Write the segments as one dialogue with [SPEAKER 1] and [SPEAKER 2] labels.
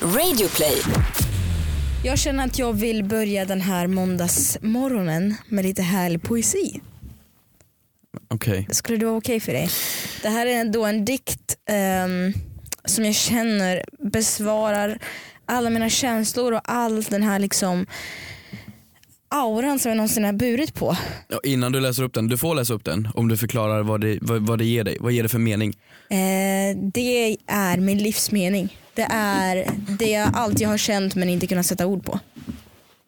[SPEAKER 1] Radioplay.
[SPEAKER 2] Jag känner att jag vill börja den här måndagsmorgonen med lite härlig poesi.
[SPEAKER 3] Okej.
[SPEAKER 2] Skulle det vara okej för dig? Det här är då en dikt ehm, som jag känner besvarar alla mina känslor och all den här liksom auran som jag någonsin har burit på.
[SPEAKER 3] Ja, Innan du läser upp den, du får läsa upp den om du förklarar vad det, vad, vad det ger dig. Vad ger det för mening?
[SPEAKER 2] Eh, det är min livsmening. Det är det jag alltid har känt men inte kunnat sätta ord på.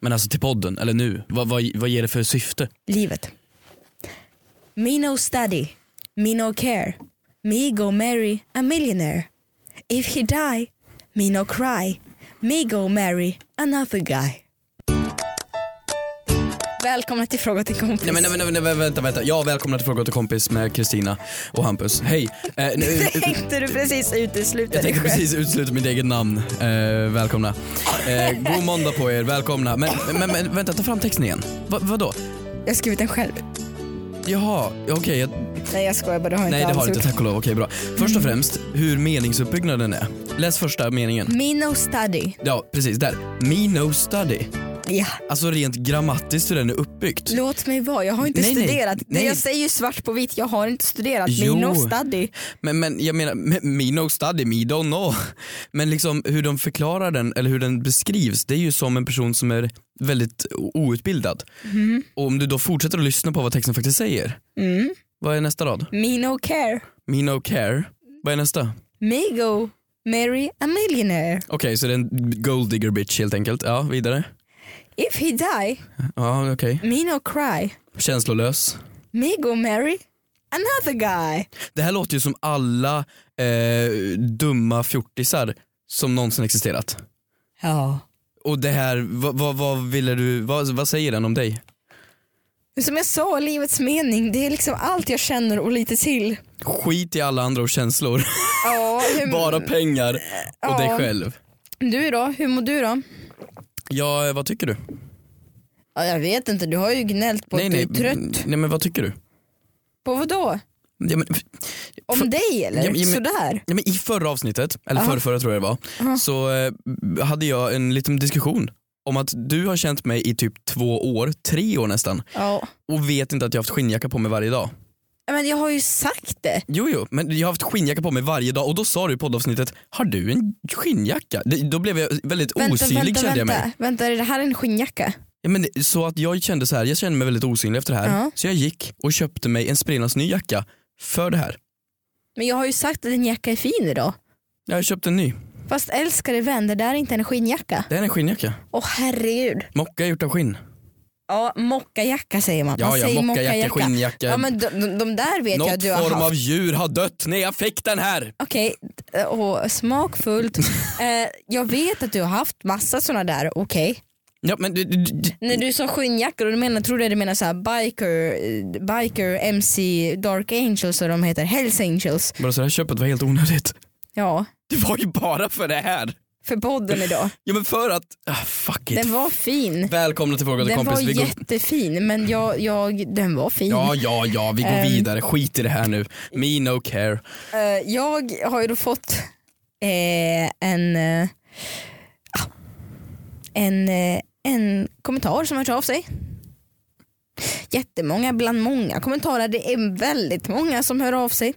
[SPEAKER 3] Men alltså till podden, eller nu. Vad, vad, vad ger det för syfte?
[SPEAKER 2] livet. Me no study, me no care, me go marry a millionaire. If he die, me no cry, me go marry another guy. Välkomna till Fråga till kompis.
[SPEAKER 3] Nej men nej, nej, nej, nej, vänta, vänta. Ja, välkomna till Fråga åt en kompis med Kristina och Hampus. Hej! Eh, nu,
[SPEAKER 2] Tänkte du precis utesluta
[SPEAKER 3] jag
[SPEAKER 2] dig
[SPEAKER 3] tänkte
[SPEAKER 2] själv?
[SPEAKER 3] precis utesluta mitt eget namn. Eh, välkomna. Eh, god måndag på er, välkomna. Men, men, men vänta, ta fram texten igen. Va, vadå?
[SPEAKER 2] Jag har skrivit den själv.
[SPEAKER 3] Jaha, okej. jag,
[SPEAKER 2] Nej jag skojar bara, det har jag
[SPEAKER 3] nej
[SPEAKER 2] inte alls
[SPEAKER 3] det har du
[SPEAKER 2] gjort.
[SPEAKER 3] inte, tack och lov. Okej, bra. Först och främst, hur meningsuppbyggnaden är. Läs första meningen.
[SPEAKER 2] Me no study.
[SPEAKER 3] Ja, precis. Där. Me no study.
[SPEAKER 2] Ja.
[SPEAKER 3] Alltså rent grammatiskt hur den är uppbyggt.
[SPEAKER 2] Låt mig vara, jag har inte
[SPEAKER 3] Nej, nej,
[SPEAKER 2] studerat.
[SPEAKER 3] nej.
[SPEAKER 2] Jag säger ju svart på vitt, jag har inte studerat.
[SPEAKER 3] Jo.
[SPEAKER 2] Me no study.
[SPEAKER 3] Men, men jag menar, me- me no study, me don't know. Men liksom hur de förklarar den, eller hur den beskrivs, det är ju som en person som är väldigt o- outbildad. Och om du då fortsätter att lyssna på vad texten faktiskt säger,
[SPEAKER 2] Mm.
[SPEAKER 3] vad är nästa rad?
[SPEAKER 2] Me no care.
[SPEAKER 3] Me no care. Vad är nästa? Okej,
[SPEAKER 2] Me go marry a millionaire.
[SPEAKER 3] så det är en gold digger bitch helt enkelt. Ja, vidare.
[SPEAKER 2] If he die,
[SPEAKER 3] Ja, okej.
[SPEAKER 2] me no cry.
[SPEAKER 3] Känslolös.
[SPEAKER 2] Me go marry another guy.
[SPEAKER 3] Det här låter ju som alla eh, dumma fjortisar som någonsin existerat.
[SPEAKER 2] Ja.
[SPEAKER 3] Och det här, vad, vad, vad ville du, vad, vad säger den om dig?
[SPEAKER 2] Som jag sa, livets mening, det är liksom allt jag känner och lite till.
[SPEAKER 3] Skit i alla andra och känslor,
[SPEAKER 2] Ja, hur,
[SPEAKER 3] bara pengar och dig
[SPEAKER 2] Mm. Ja.
[SPEAKER 3] själv.
[SPEAKER 2] du då? Hur mår du då?
[SPEAKER 3] Ja, eh, vad tycker du?
[SPEAKER 2] Ja, jag vet inte, du har ju gnällt på att du är trött.
[SPEAKER 3] Nej men vad tycker du?
[SPEAKER 2] På vad då?
[SPEAKER 3] Ja, men,
[SPEAKER 2] Om
[SPEAKER 3] För-
[SPEAKER 2] dig eller?
[SPEAKER 3] Ja, men-
[SPEAKER 2] Sådär.
[SPEAKER 3] ja, men I förra avsnittet, eller
[SPEAKER 2] Aha.
[SPEAKER 3] förra, förra tror jag det var,
[SPEAKER 2] Aha.
[SPEAKER 3] så eh, hade jag en liten diskussion om att du har känt mig i typ två år, tre år nästan
[SPEAKER 2] Ja.
[SPEAKER 3] och vet inte att jag har haft skinnjacka på mig varje dag.
[SPEAKER 2] Men jag har ju sagt det.
[SPEAKER 3] Jo, jo, men jag har haft skinnjacka på mig varje dag och då sa du i poddavsnittet, har du en skinnjacka? Det, då blev jag väldigt osynlig
[SPEAKER 2] vänta,
[SPEAKER 3] kände jag mig.
[SPEAKER 2] vänta. Vänta, är det här en skinnjacka?
[SPEAKER 3] Ja, men det, så att jag kände så här, jag kände mig väldigt osynlig efter det här.
[SPEAKER 2] Ja.
[SPEAKER 3] Så jag gick och köpte mig en sprillans ny jacka för det här.
[SPEAKER 2] Men jag har ju sagt att din jacka är fin idag.
[SPEAKER 3] Jag köpte en ny.
[SPEAKER 2] Fast älskade vän, det där är inte en skinnjacka.
[SPEAKER 3] Det här är en skinnjacka.
[SPEAKER 2] Åh herregud.
[SPEAKER 3] Mocka gjort av skinn.
[SPEAKER 2] Ja, mockajacka säger man.
[SPEAKER 3] Ja,
[SPEAKER 2] man säger
[SPEAKER 3] ja, mockajacka, skinnjacka.
[SPEAKER 2] Ja, men de, de, de där vet jag
[SPEAKER 3] Något
[SPEAKER 2] att du har
[SPEAKER 3] form
[SPEAKER 2] haft.
[SPEAKER 3] av djur har dött. Nej, jag fick den här.
[SPEAKER 2] Okej, d- åh, smakfullt. eh, jag vet att du har haft massa sådana där, okej.
[SPEAKER 3] Ja, men du, du, du,
[SPEAKER 2] När du sa skinnjackor, och du menar, tror du du menar så här biker, eh, biker, MC, Dark Angels och de heter Hells Angels.
[SPEAKER 3] bara så det här köpet var helt onödigt.
[SPEAKER 2] Ja,
[SPEAKER 3] Det var ju bara för det här.
[SPEAKER 2] för podden idag.
[SPEAKER 3] Ja, men för att, ah, fuck it.
[SPEAKER 2] Den var fin.
[SPEAKER 3] Välkomna till Fråga till
[SPEAKER 2] Den var
[SPEAKER 3] kompis. Vi går...
[SPEAKER 2] jättefin men jag, jag, den var fin.
[SPEAKER 3] Ja, ja, ja, vi går
[SPEAKER 2] Ehm.
[SPEAKER 3] vidare. Skit i det här nu. Me no care.
[SPEAKER 2] Eh, jag har ju då fått eh, en, eh, ah, en, eh, en kommentar som har hört av sig. Jättemånga bland många kommentarer. Det är väldigt många som hör av sig.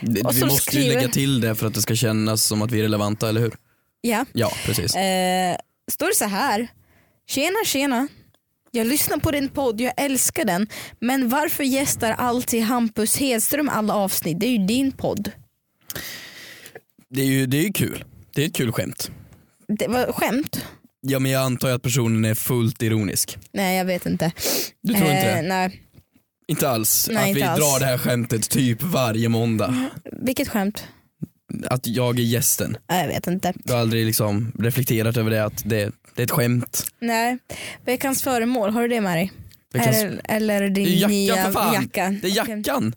[SPEAKER 3] Det-
[SPEAKER 2] Och
[SPEAKER 3] Vi
[SPEAKER 2] så
[SPEAKER 3] måste ju
[SPEAKER 2] skriver-
[SPEAKER 3] lägga till det för att det ska kännas som att vi är relevanta, eller hur?
[SPEAKER 2] Ja.
[SPEAKER 3] Ja, precis.
[SPEAKER 2] Eh, står det så här. Tjena tjena. Jag lyssnar på din podd, jag älskar den. Men varför gästar alltid Hampus Hedström alla avsnitt? Det är ju din podd.
[SPEAKER 3] Det är ju det är ju kul. Det är ett kul skämt.
[SPEAKER 2] Det var skämt?
[SPEAKER 3] Ja men jag antar ju att personen är fullt ironisk.
[SPEAKER 2] Nej jag vet inte.
[SPEAKER 3] Du tror inte
[SPEAKER 2] Eh,
[SPEAKER 3] det?
[SPEAKER 2] Nej.
[SPEAKER 3] Inte alls.
[SPEAKER 2] nej,
[SPEAKER 3] att
[SPEAKER 2] inte
[SPEAKER 3] vi
[SPEAKER 2] alls. Mm.
[SPEAKER 3] drar det här skämtet typ varje måndag.
[SPEAKER 2] Vilket skämt?
[SPEAKER 3] Att jag är gästen.
[SPEAKER 2] Nej, Jag vet inte.
[SPEAKER 3] Du har aldrig liksom reflekterat över det att det, det är ett skämt.
[SPEAKER 2] Nej. Veckans föremål, har du det med dig?
[SPEAKER 3] Veckans-
[SPEAKER 2] Eller, eller din
[SPEAKER 3] Liksom. Det är ju
[SPEAKER 2] nya
[SPEAKER 3] jackan för fan.
[SPEAKER 2] jacka?
[SPEAKER 3] Det är
[SPEAKER 2] Okej.
[SPEAKER 3] jackan!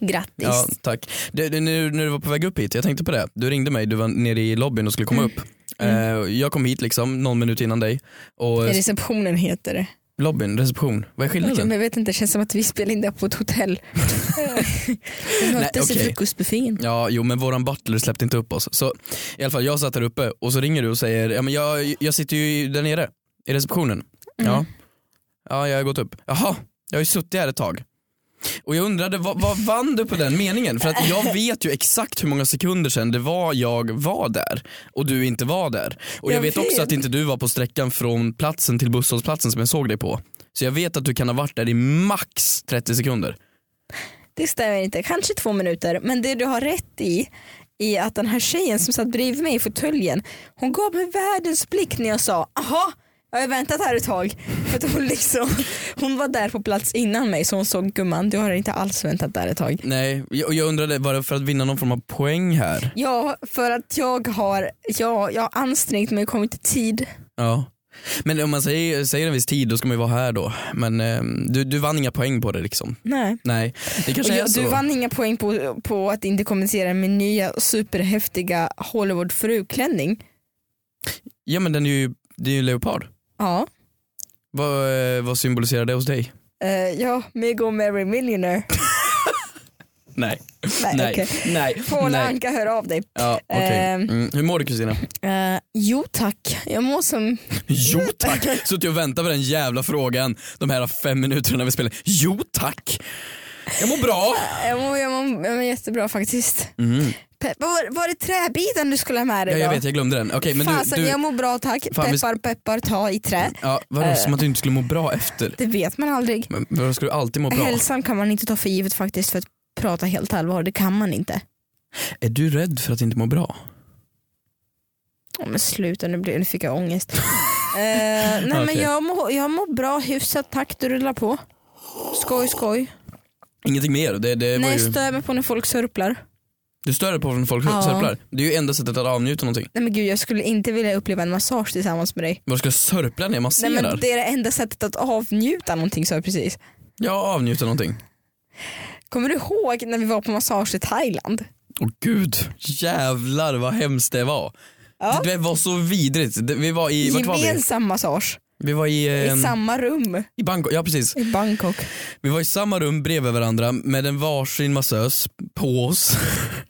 [SPEAKER 2] Grattis.
[SPEAKER 3] Ja tack. Det, det, när, när du var på väg upp hit, jag tänkte på det. Du ringde mig, du var nere i lobbyn och skulle komma upp. Eh, jag kom hit liksom någon minut innan dig. Och
[SPEAKER 2] Receptionen heter det.
[SPEAKER 3] Lobbyn, reception. Vad är
[SPEAKER 2] Okej,
[SPEAKER 3] skillnaden?
[SPEAKER 2] men jag vet inte, det känns som att vi spelar in det på ett hotell. Vi möttes i
[SPEAKER 3] okej.
[SPEAKER 2] frukostbuffén.
[SPEAKER 3] Ja, jo men våran butler släppte inte upp oss. Så i alla fall, jag satt där uppe och så ringer du och säger, ja men jag, jag sitter ju där nere i receptionen. Ja. ja, jag har gått upp. Jaha, jag har ju suttit här ett tag. Och jag undrade, vad, vad vann du på den meningen? För att jag vet ju exakt hur många sekunder sedan det var jag var där och du inte var där. Och jag,
[SPEAKER 2] Jag
[SPEAKER 3] vet också
[SPEAKER 2] vet.
[SPEAKER 3] att inte du var på sträckan från platsen till busshållplatsen som jag såg dig på. Så jag vet att du kan ha varit där i max 30 sekunder.
[SPEAKER 2] Det stämmer inte, kanske två minuter. Men det du har rätt i är att den här tjejen som satt bredvid mig i fåtöljen, hon gav mig världens blick när jag sa aha jag har väntat här ett tag. För att hon, liksom, hon var där på plats innan mig så hon såg gumman, du har inte alls väntat där ett tag.
[SPEAKER 3] Nej, och jag undrade, var det för att vinna någon form av poäng här?
[SPEAKER 2] Ja, för att jag har, ja, jag har ansträngt mig och kommit i tid.
[SPEAKER 3] Ja. Men om man säger, säger en viss tid då ska man ju vara här då. Men eh, du, du vann inga poäng på det liksom.
[SPEAKER 2] Nej.
[SPEAKER 3] Nej, det
[SPEAKER 2] Och
[SPEAKER 3] kanske är
[SPEAKER 2] jag,
[SPEAKER 3] så.
[SPEAKER 2] du vann inga poäng på, på att inte kommentera min nya superhäftiga Hollywood-fruklänning.
[SPEAKER 3] Ja men den är ju, det är ju leopard.
[SPEAKER 2] Ja.
[SPEAKER 3] Vad, eh, vad symboliserar det hos dig?
[SPEAKER 2] Eh, ja, me go marry millionaire.
[SPEAKER 3] Nej.
[SPEAKER 2] Nej,
[SPEAKER 3] Nej.
[SPEAKER 2] okej.
[SPEAKER 3] Nej.
[SPEAKER 2] Paula
[SPEAKER 3] Nej.
[SPEAKER 2] Anka hör av dig.
[SPEAKER 3] Ja, okej.
[SPEAKER 2] Ehm.
[SPEAKER 3] mm. Hur mår du Kristina?
[SPEAKER 2] Eh, jo tack, jag mår som...
[SPEAKER 3] Jo tack. Suttit och väntat på den jävla frågan de här fem minuterna vi spelar. Jo tack. Jag mår bra. Mm.
[SPEAKER 2] Jag mår, jag mår, jag mår jättebra faktiskt. Pe- var, var det träbiten du skulle ha med dig
[SPEAKER 3] Ja, jag
[SPEAKER 2] då?
[SPEAKER 3] vet, jag glömde den. Okej men du,
[SPEAKER 2] Fasen,
[SPEAKER 3] du
[SPEAKER 2] jag mår bra tack.
[SPEAKER 3] Fan, vi-
[SPEAKER 2] peppar peppar ta i trä.
[SPEAKER 3] ja, vadå,
[SPEAKER 2] Eh.
[SPEAKER 3] som att du inte skulle må bra efter?
[SPEAKER 2] Det vet man aldrig.
[SPEAKER 3] Men vadå, ska du alltid må bra?
[SPEAKER 2] Hälsan kan man inte ta för givet faktiskt för att prata helt allvar, det kan man inte.
[SPEAKER 3] Är du rädd för att inte må bra?
[SPEAKER 2] Oh, men sluta nu, blir, nu fick jag ångest. Eh, nej men
[SPEAKER 3] Okej.
[SPEAKER 2] jag mår, jag mår bra, hyfsat tack, du rullar på. Skoj skoj.
[SPEAKER 3] Ingenting mer? Det, det var
[SPEAKER 2] Nej
[SPEAKER 3] ju,
[SPEAKER 2] jag stör mig på när folk sörplar.
[SPEAKER 3] du stör dig på när folk
[SPEAKER 2] Ja.
[SPEAKER 3] sörplar? Det är ju enda sättet att avnjuta någonting.
[SPEAKER 2] Nej men gud jag skulle inte vilja uppleva en massage tillsammans med dig.
[SPEAKER 3] Vad ska jag sörpla när jag
[SPEAKER 2] Nej,
[SPEAKER 3] masserar?
[SPEAKER 2] men det är det enda sättet att avnjuta någonting sa jag precis.
[SPEAKER 3] Jag avnjuter någonting.
[SPEAKER 2] Kommer du ihåg när vi var på massage i Thailand?
[SPEAKER 3] Åh gud, jävlar vad hemskt det var.
[SPEAKER 2] Ja.
[SPEAKER 3] Det var så vidrigt. Det- Vi var i, vart var vi?
[SPEAKER 2] Gemensam massage
[SPEAKER 3] Vi var i,
[SPEAKER 2] i
[SPEAKER 3] ehm,
[SPEAKER 2] samma rum
[SPEAKER 3] i Bangkok, ja precis.
[SPEAKER 2] i Bangkok.
[SPEAKER 3] Vi var i samma rum bredvid varandra med en varsin massös på oss.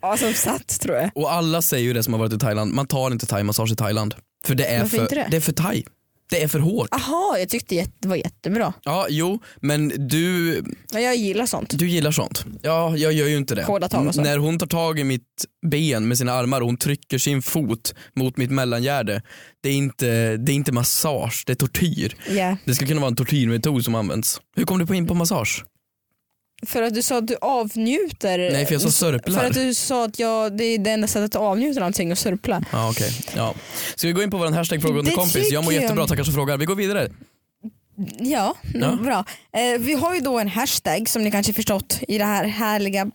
[SPEAKER 2] Ja, som satt tror jag.
[SPEAKER 3] Och alla säger ju det som har varit i Thailand, man tar inte thai-massage i Thailand. För det är
[SPEAKER 2] Varför
[SPEAKER 3] för,
[SPEAKER 2] inte det?
[SPEAKER 3] det är för thai. Det är för hårt.
[SPEAKER 2] Aha, jag tyckte jätte- det var jättebra.
[SPEAKER 3] Ja, jo, men du
[SPEAKER 2] Ja, jag gillar sånt.
[SPEAKER 3] Du gillar sånt? Ja, jag gör ju inte det.
[SPEAKER 2] Hårda tag och så.
[SPEAKER 3] N- När hon tar tag i mitt ben med sina armar och hon trycker sin fot mot mitt mellangärde, det är inte, det är inte massage, det är tortyr.
[SPEAKER 2] Ja.
[SPEAKER 3] Det skulle kunna vara en tortyrmetod som används. Hur kom du på in på massage?
[SPEAKER 2] För att du sa att du avnjuter.
[SPEAKER 3] Nej, för jag sa sörplar.
[SPEAKER 2] Eh, För att du sa att jag, det är det enda sättet att avnjuta någonting och sörpla.
[SPEAKER 3] Ja, okej. Ja. Ska vi gå in på vår hashtag fråga under
[SPEAKER 2] Det
[SPEAKER 3] kompis? Jag mår
[SPEAKER 2] tycker jag.
[SPEAKER 3] jättebra, tackar som frågar. Vi går vidare.
[SPEAKER 2] Ja,
[SPEAKER 3] Ja.
[SPEAKER 2] bra. Eh, vi har ju då en hashtag som ni kanske förstått i, det här härliga,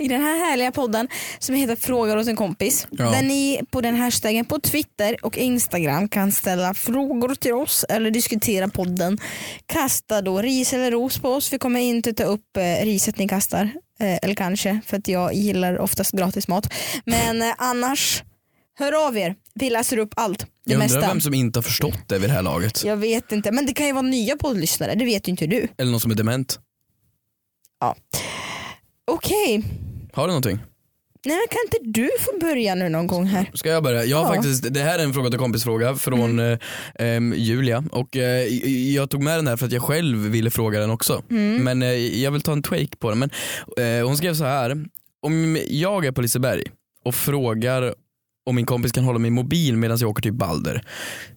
[SPEAKER 2] i den här härliga podden som heter frågar åt en kompis.
[SPEAKER 3] Ja.
[SPEAKER 2] Där ni på den hashtaggen på Twitter och Instagram kan ställa frågor till oss eller diskutera podden. Kasta då ris eller ros på oss. Vi kommer inte ta upp eh, riset ni kastar. Eh, eller kanske, för att jag gillar oftast gratis mat. Men eh, annars, hör av er. Vi läser upp allt. Det
[SPEAKER 3] Jag undrar
[SPEAKER 2] mesta.
[SPEAKER 3] vem som inte har förstått det vid det här laget.
[SPEAKER 2] Jag vet inte, men det kan ju vara nya poddlyssnare, det vet ju inte du.
[SPEAKER 3] Eller någon som är dement.
[SPEAKER 2] Okej,
[SPEAKER 3] Har du någonting?
[SPEAKER 2] Nej, men kan inte du få börja nu någon gång här?
[SPEAKER 3] Ska jag börja? Jag har
[SPEAKER 2] Ja.
[SPEAKER 3] faktiskt, det här är en fråga till kompisfråga från eh, em, Julia och eh, i- jag tog med den här för att jag själv ville fråga den också. Men eh, jag vill ta en take på den. Men, eh, hon skrev så här. om jag är på Liseberg och frågar om min kompis kan hålla min mobil medan jag åker till Balder.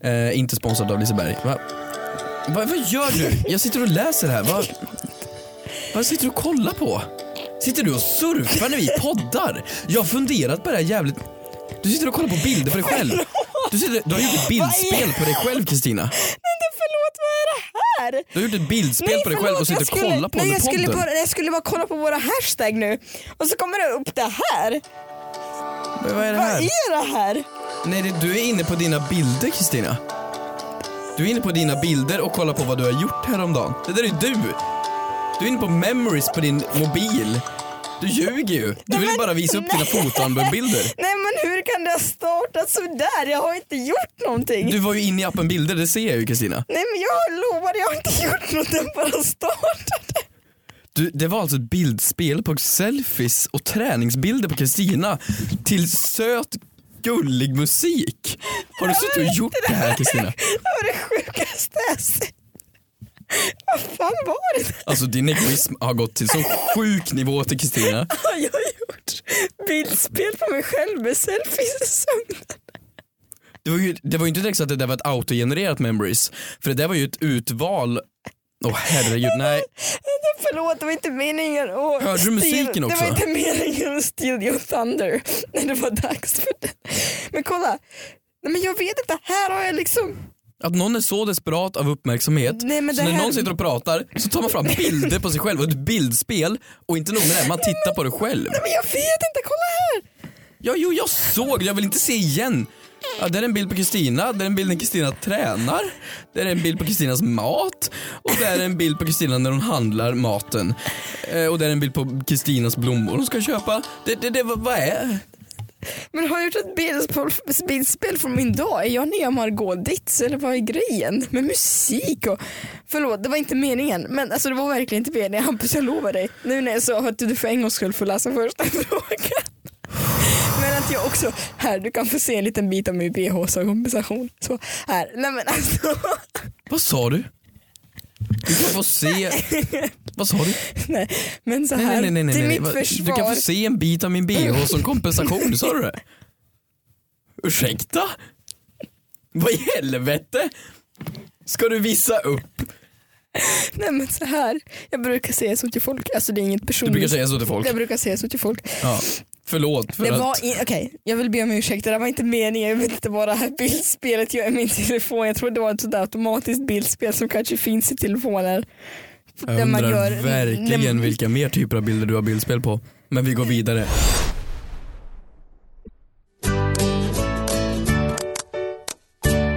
[SPEAKER 3] Eh, inte sponsrad av Liseberg. Va? Va, vad gör du? Jag sitter och läser här. Va? Vad sitter du och kollar på? Sitter du och surfar när vi poddar? Jag har funderat på det här jävligt... Du sitter och kollar på bilder på dig själv. Du, sitter, du har gjort ett bildspel på dig själv Kristina.
[SPEAKER 2] Förlåt, vad är det här?
[SPEAKER 3] Du har gjort ett bildspel på dig själv och sitter och kollar på
[SPEAKER 2] nej,
[SPEAKER 3] under
[SPEAKER 2] jag skulle,
[SPEAKER 3] podden.
[SPEAKER 2] bara, jag skulle bara kolla på våra hashtag nu och så kommer det upp det här.
[SPEAKER 3] Men Vad är det
[SPEAKER 2] Vad
[SPEAKER 3] här?
[SPEAKER 2] är det här?
[SPEAKER 3] Nej, det- du är inne på dina bilder Kristina. Du är inne på dina bilder och kollar på vad du har gjort häromdagen. Det där är ju du. Du är inne på memories på din mobil. Du ljuger ju. Du vill bara visa upp dina fotoalbumbilder.
[SPEAKER 2] Nej men hur kan det ha startat sådär? Jag har inte gjort någonting.
[SPEAKER 3] Du var ju inne i appen bilder, det ser jag ju Kristina.
[SPEAKER 2] Nej men jag lovade, jag har inte gjort något, den bara startade.
[SPEAKER 3] Du, det var alltså ett bildspel på selfies och träningsbilder på Kristina till söt gullig musik. Har du suttit och gjort det här Kristina?
[SPEAKER 2] Det var det sjukaste jag sett. Vad fan var det där?
[SPEAKER 3] Alltså din egoism har gått till så sjuk nivå till Kristina.
[SPEAKER 2] Har jag gjort bildspel på mig själv med selfies i sömnen?
[SPEAKER 3] Det var ju, det var ju inte direkt så att det där var ett autogenererat memories. För det där var ju ett utval. Åh herregud, nej.
[SPEAKER 2] Förlåt, det var inte meningen att...
[SPEAKER 3] Hörde du musiken
[SPEAKER 2] Steel-
[SPEAKER 3] också?
[SPEAKER 2] Det var inte meningen att steal your thunder när det var dags för det. Men kolla, nej men jag vet inte, här har jag liksom...
[SPEAKER 3] Att någon är så desperat av uppmärksamhet
[SPEAKER 2] Nej, men
[SPEAKER 3] så
[SPEAKER 2] det
[SPEAKER 3] när
[SPEAKER 2] här-
[SPEAKER 3] någon sitter och pratar så tar man fram bilder på sig själv och ett bildspel och inte nog med det, man tittar på det själv.
[SPEAKER 2] Nej men jag vet inte, kolla här!
[SPEAKER 3] Ja, jo, jag såg det. Jag vill inte se igen. Ja, där är en bild på Kristina, där är en bild när Kristina tränar, där är en bild på Kristinas mat och där är en bild på Kristina när hon handlar maten. Eh, och där är en bild på Kristinas blommor hon ska köpa. Det, det, det vad vad är?
[SPEAKER 2] Men har jag gjort ett bildspel, bildspel från min dag? Är jag nya Margot-dits eller vad är grejen? Med musik och... Förlåt, det var inte meningen. Men alltså det var verkligen inte meningen. Hampus, jag lovar dig. Nu när jag sa att du för en gångs skull får läsa första frågan. Men att jag också, här du kan få se en liten bit av min bh som kompensation. Så här, nej men alltså.
[SPEAKER 3] Vad sa du? Du kan få se... Vad sa du?
[SPEAKER 2] Nej, men så här,
[SPEAKER 3] Nej, nej, nej, nej,
[SPEAKER 2] till
[SPEAKER 3] nej.
[SPEAKER 2] mitt
[SPEAKER 3] Vad-
[SPEAKER 2] försvar.
[SPEAKER 3] Du kan få se en bit av min bh som kompensation, sa du det? Ursäkta? Vad i helvete? Ska du visa upp
[SPEAKER 2] Nej men så här, jag brukar säga så till folk. Alltså det är inget
[SPEAKER 3] Du
[SPEAKER 2] personligt.
[SPEAKER 3] brukar säga så till folk.
[SPEAKER 2] Jag brukar säga så till folk.
[SPEAKER 3] Ja. Förlåt för
[SPEAKER 2] Det
[SPEAKER 3] att...
[SPEAKER 2] var in- Okej, jag vill be om ursäkt. Det där var inte meningen. Jag vet inte vad det här bildspelet gör i min telefon. Jag tror det var ett sådär automatiskt bildspel som kanske finns i telefoner.
[SPEAKER 3] Jag
[SPEAKER 2] där man
[SPEAKER 3] undrar
[SPEAKER 2] gör-
[SPEAKER 3] verkligen
[SPEAKER 2] när-
[SPEAKER 3] vilka mer typer av bilder du har bildspel på. Men vi går vidare.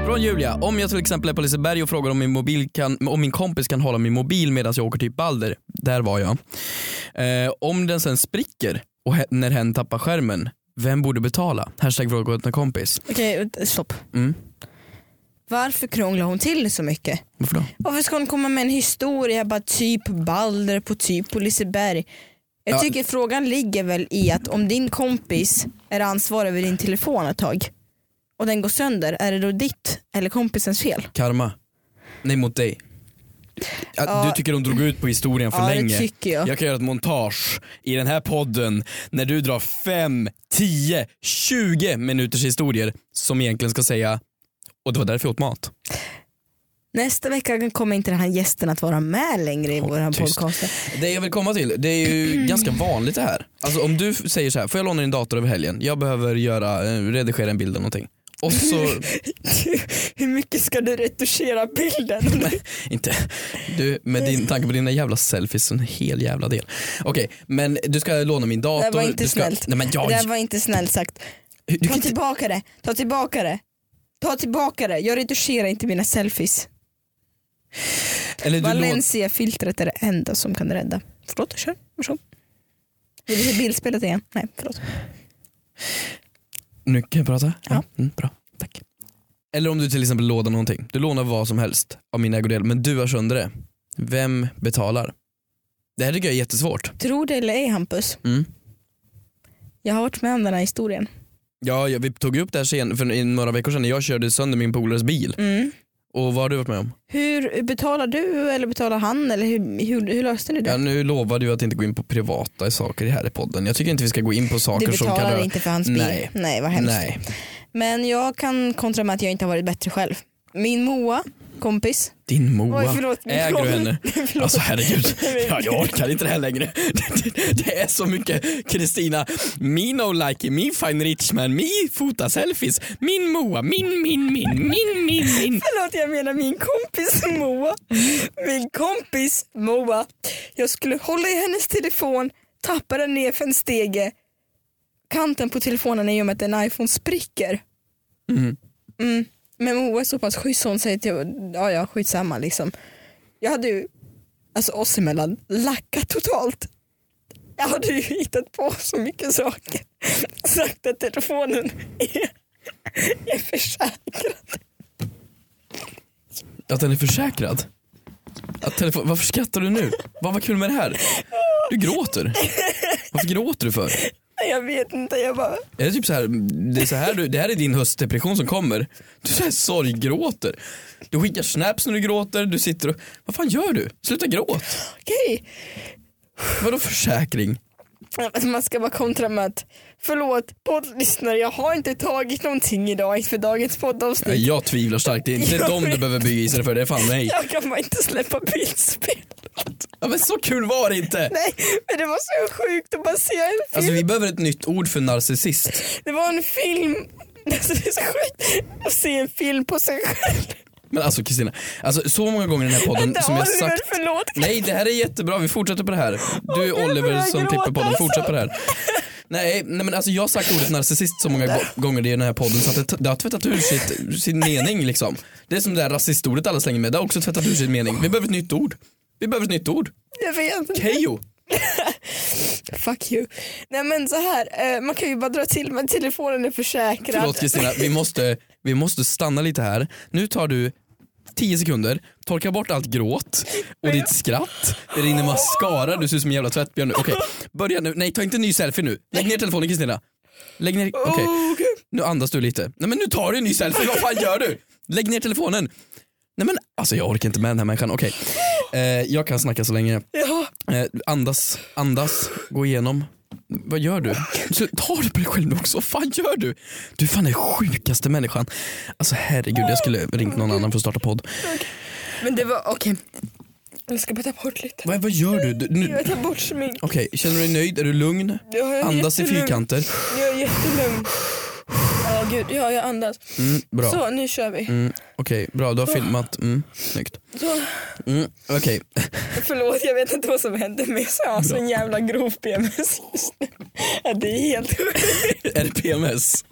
[SPEAKER 3] Från Julia. Om jag till exempel är på Liseberg och frågar om min, mobil kan, om min kompis kan hålla min mobil medan jag åker till Balder. Där var jag. Eh, om den sen spricker och he- när hen tappar skärmen, vem borde betala? Hashtag fråga åt en kompis.
[SPEAKER 2] Okej, stopp.
[SPEAKER 3] Mm.
[SPEAKER 2] Varför krånglar hon till så mycket?
[SPEAKER 3] Varför då?
[SPEAKER 2] Varför ska hon komma med en historia bara typ Balder på typ på Liseberg? Jag
[SPEAKER 3] Ja.
[SPEAKER 2] tycker frågan ligger väl i att om din kompis är ansvarig över din telefon ett tag och den går sönder, är det då ditt eller kompisens fel?
[SPEAKER 3] Karma. Nej, mot dig. Ja,
[SPEAKER 2] Ja.
[SPEAKER 3] Du tycker de drog ut på historien för
[SPEAKER 2] Ja, det
[SPEAKER 3] länge.
[SPEAKER 2] tycker jag.
[SPEAKER 3] kan göra ett montage i den här podden när du drar 5, 10, 20 minuters historier som egentligen ska säga och det var därför jag åt mat.
[SPEAKER 2] Nästa vecka kommer inte den här gästen att vara med längre i
[SPEAKER 3] Håll
[SPEAKER 2] våra
[SPEAKER 3] tyst.
[SPEAKER 2] podcaster.
[SPEAKER 3] Det jag vill komma till, det är ju ganska vanligt det här. Alltså om du f- säger så här, får jag låna din dator över helgen? Jag behöver göra, eh, redigera en bild eller någonting. Och så,
[SPEAKER 2] Hur mycket ska du retuschera bilden?
[SPEAKER 3] inte, du med din tanke på dina jävla selfies, en hel jävla del. Okej, men du ska låna min dator.
[SPEAKER 2] Det var inte
[SPEAKER 3] du ska,
[SPEAKER 2] snällt.
[SPEAKER 3] Nej men jag,
[SPEAKER 2] Det här var inte snällt sagt.
[SPEAKER 3] Hur- Du
[SPEAKER 2] Ta
[SPEAKER 3] kan inte,
[SPEAKER 2] tillbaka det, ta tillbaka det. Ta tillbaka det, jag retuscherar inte mina selfies.
[SPEAKER 3] eller du låt,
[SPEAKER 2] Valencia-filtret är det enda som kan rädda. Förlåt, kör. Varsågod. Vill du se bildspelet igen? Nej, förlåt.
[SPEAKER 3] nu kan jag prata?
[SPEAKER 2] Ja.
[SPEAKER 3] Mm, bra, tack. Eller om du till exempel lånar någonting. Du lånar vad som helst av min ägodel men du har sönder det. Vem betalar? Det här tycker jag är jättesvårt.
[SPEAKER 2] Tror det eller ej Hampus,
[SPEAKER 3] Mm.
[SPEAKER 2] jag har varit med om den här historien.
[SPEAKER 3] Ja, ja, vi tog ju upp det här sen, för i några veckor sedan när jag körde sönder min polares bil.
[SPEAKER 2] Mm.
[SPEAKER 3] Och vad har du varit med om?
[SPEAKER 2] Hur betalar du eller betalar han eller hur, hur, hur löste ni det?
[SPEAKER 3] Ja, nu lovade du att inte gå in på privata saker här i podden. Jag tycker inte vi ska gå in på
[SPEAKER 2] Du
[SPEAKER 3] saker som kan
[SPEAKER 2] betalar
[SPEAKER 3] röra...
[SPEAKER 2] inte för hans bil.
[SPEAKER 3] Nej.
[SPEAKER 2] vad hemskt.
[SPEAKER 3] Nej.
[SPEAKER 2] Men jag kan kontra med att jag inte har varit bättre själv. Min Moa, kompis.
[SPEAKER 3] Din Moa.
[SPEAKER 2] Oj, förlåt, min
[SPEAKER 3] Äger du
[SPEAKER 2] kompis.
[SPEAKER 3] henne?
[SPEAKER 2] Förlåt.
[SPEAKER 3] Alltså herregud, ja, jag orkar inte det här längre. Det, det, det är så mycket Kristina, me no like, me fine rich man, me fota selfies, min Moa, min, min, min, min, min, min.
[SPEAKER 2] Förlåt jag menar min kompis Moa. Min kompis Moa. Jag skulle hålla i hennes telefon, tappa den ner för en stege. Kanten på telefonen är i och med att en iPhone spricker.
[SPEAKER 3] Mm.
[SPEAKER 2] Mm. Men Moa är så pass schysst så hon säger till ja ja skitsamma liksom. Jag hade ju, alltså oss emellan, lackat totalt. Jag hade ju hittat på så mycket saker. Sagt att telefonen är, är försäkrad.
[SPEAKER 3] Att den är försäkrad? Att telefon... Varför skrattar du nu? Vad var kul med det här? Du gråter. Varför gråter du för?
[SPEAKER 2] Nej, Jag vet inte, jag bara...
[SPEAKER 3] Är det typ så här, det, är så här du, det här är din höstdepression som kommer. Du så här sorggråter. Du skickar snaps när du gråter, du sitter och, vad fan gör du? Sluta gråt.
[SPEAKER 2] Okej.
[SPEAKER 3] Vadå försäkring?
[SPEAKER 2] Alltså, Man ska bara kontra med att förlåt poddlyssnare jag har inte tagit någonting idag inför dagens
[SPEAKER 3] Nej,
[SPEAKER 2] poddavsnitt.
[SPEAKER 3] jag tvivlar starkt, det är inte dem du behöver bygga istället för, det är fan mig.
[SPEAKER 2] Jag kan bara inte släppa bildspel.
[SPEAKER 3] Ja, men så kul var det inte.
[SPEAKER 2] Nej men det var så sjukt att bara se en film.
[SPEAKER 3] Alltså vi behöver ett nytt ord för narcissist.
[SPEAKER 2] Det var en film. Alltså, det är så sjukt att se en film på sig själv.
[SPEAKER 3] Men alltså Kristina, alltså, så många gånger i den här podden
[SPEAKER 2] Vänta
[SPEAKER 3] som jag
[SPEAKER 2] Oliver
[SPEAKER 3] sagt
[SPEAKER 2] förlåt.
[SPEAKER 3] Nej det här är jättebra, vi fortsätter på det här. Du
[SPEAKER 2] Åh,
[SPEAKER 3] är
[SPEAKER 2] nu börjar
[SPEAKER 3] Oliver
[SPEAKER 2] jag
[SPEAKER 3] som klipper
[SPEAKER 2] gråta,
[SPEAKER 3] podden, fortsätt
[SPEAKER 2] alltså.
[SPEAKER 3] på det här. Nej, nej men alltså jag har sagt ordet narcissist så många go- gånger i den här podden så att det, det har tvättat ur sitt, sin mening liksom. Det är som det där rasistordet alla slänger med, det har också tvättat ur sin mening. Vi behöver ett nytt ord. Vi behöver ett nytt ord.
[SPEAKER 2] Jag vet.
[SPEAKER 3] Kejo.
[SPEAKER 2] Fuck you. Nej men så här, eh, man kan ju bara dra till men telefonen är försäkrad.
[SPEAKER 3] Förlåt Kristina, vi måste, vi måste stanna lite här. Nu tar du 10 sekunder, torka bort allt gråt och ditt skratt. Det rinner mascara, du ser ut som en jävla tvättbjörn nu. Okej, börja nu. Nej, ta inte en ny selfie nu. Lägg ner telefonen Kristina. Lägg ner, okej.
[SPEAKER 2] Oh, gud.
[SPEAKER 3] Nu andas du lite. Nej men nu tar du en ny selfie, vad fan gör du? Lägg ner telefonen. Nej men alltså jag orkar inte med den här människan. Okej, eh, jag kan snacka så länge.
[SPEAKER 2] Ja.
[SPEAKER 3] Eh, andas, andas, gå igenom. Vad gör du? Så tar du på dig själv nu också? Vad fan gör du? Du är fan den sjukaste människan. Alltså herregud, jag skulle ringt någon annan för att starta podd.
[SPEAKER 2] Men det var, okej. Jag ska bara ta bort lite.
[SPEAKER 3] Vad, vad gör du? du nu-
[SPEAKER 2] Jag tar bort smink.
[SPEAKER 3] Okej, känner du dig nöjd? Är du lugn?
[SPEAKER 2] Jag är
[SPEAKER 3] Andas i
[SPEAKER 2] jättelugn.
[SPEAKER 3] fyrkanter.
[SPEAKER 2] Jag är jättelugn. Ja gud, ja jag andas.
[SPEAKER 3] Mm, bra.
[SPEAKER 2] Så nu kör vi.
[SPEAKER 3] Mm, Okej, bra. Du har filmat. Mm, snyggt.
[SPEAKER 2] Så,
[SPEAKER 3] Mm, Okej,
[SPEAKER 2] förlåt jag vet inte vad som hände men jag har sån jävla grov PMS just nu. Ja, Det är helt sjukt.
[SPEAKER 3] är det PMS?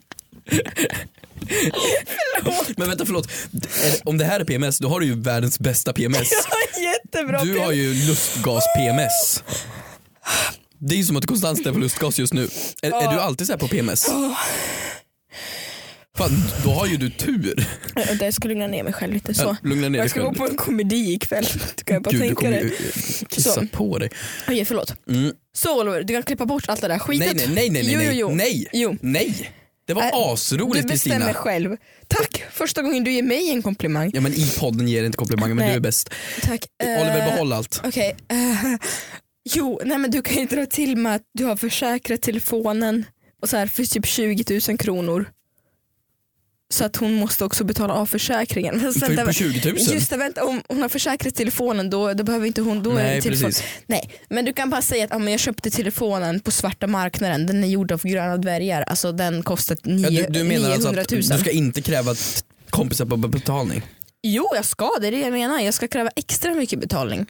[SPEAKER 3] Men vänta förlåt, Är det- om det här är PMS då har du ju världens bästa PMS.
[SPEAKER 2] Jag har jättebra
[SPEAKER 3] Du har ju lustgas-PMS. Det är ju som att du konstant är på lustgas just nu. Är, är du alltid så här på PMS? Fan, då har ju du tur.
[SPEAKER 2] Vänta jag ska lugna ner mig själv lite så.
[SPEAKER 3] Lugna ner dig
[SPEAKER 2] Jag ska gå
[SPEAKER 3] själv.
[SPEAKER 2] på en komedi ikväll. Du kan jag bara
[SPEAKER 3] Gud, du
[SPEAKER 2] tänka
[SPEAKER 3] kommer
[SPEAKER 2] dig.
[SPEAKER 3] ju kissa
[SPEAKER 2] Så.
[SPEAKER 3] på dig.
[SPEAKER 2] Okej förlåt.
[SPEAKER 3] Mm.
[SPEAKER 2] Så Oliver, du kan klippa bort allt det där
[SPEAKER 3] Nej,
[SPEAKER 2] skitet.
[SPEAKER 3] nej, nej, nej,
[SPEAKER 2] Jo,
[SPEAKER 3] nej,
[SPEAKER 2] jo, jo.
[SPEAKER 3] nej,
[SPEAKER 2] Jo.
[SPEAKER 3] nej. Det
[SPEAKER 2] Äh,
[SPEAKER 3] var
[SPEAKER 2] Du
[SPEAKER 3] asroligt
[SPEAKER 2] bestämmer
[SPEAKER 3] Kristina.
[SPEAKER 2] själv. Tack, första gången du ger mig en komplimang.
[SPEAKER 3] Ja men i podden ger inte komplimanger men
[SPEAKER 2] Nej.
[SPEAKER 3] du är bäst.
[SPEAKER 2] Tack.
[SPEAKER 3] Oliver
[SPEAKER 2] Eh,
[SPEAKER 3] behåll allt.
[SPEAKER 2] Okej. eh, jo, nej men du kan ju dra till med att du har försäkrat telefonen och så här för typ 20 000 kronor. Så att hon måste också betala av försäkringen. Men sen,
[SPEAKER 3] För, på 20 000?
[SPEAKER 2] Just det, vänta, om hon har försäkrat telefonen då, då behöver inte hon, då är
[SPEAKER 3] nej
[SPEAKER 2] det telefon.
[SPEAKER 3] precis.
[SPEAKER 2] Nej, men du kan bara säga att ah, men jag köpte telefonen på svarta marknaden, den är gjord av gröna dvärgar, alltså den kostar
[SPEAKER 3] Ja,
[SPEAKER 2] 9,
[SPEAKER 3] du, du menar
[SPEAKER 2] 900
[SPEAKER 3] alltså
[SPEAKER 2] 000.
[SPEAKER 3] att du ska inte kräva t- kompisar på betalning?
[SPEAKER 2] Jo jag ska, det är det jag menar, jag ska kräva extra mycket betalning.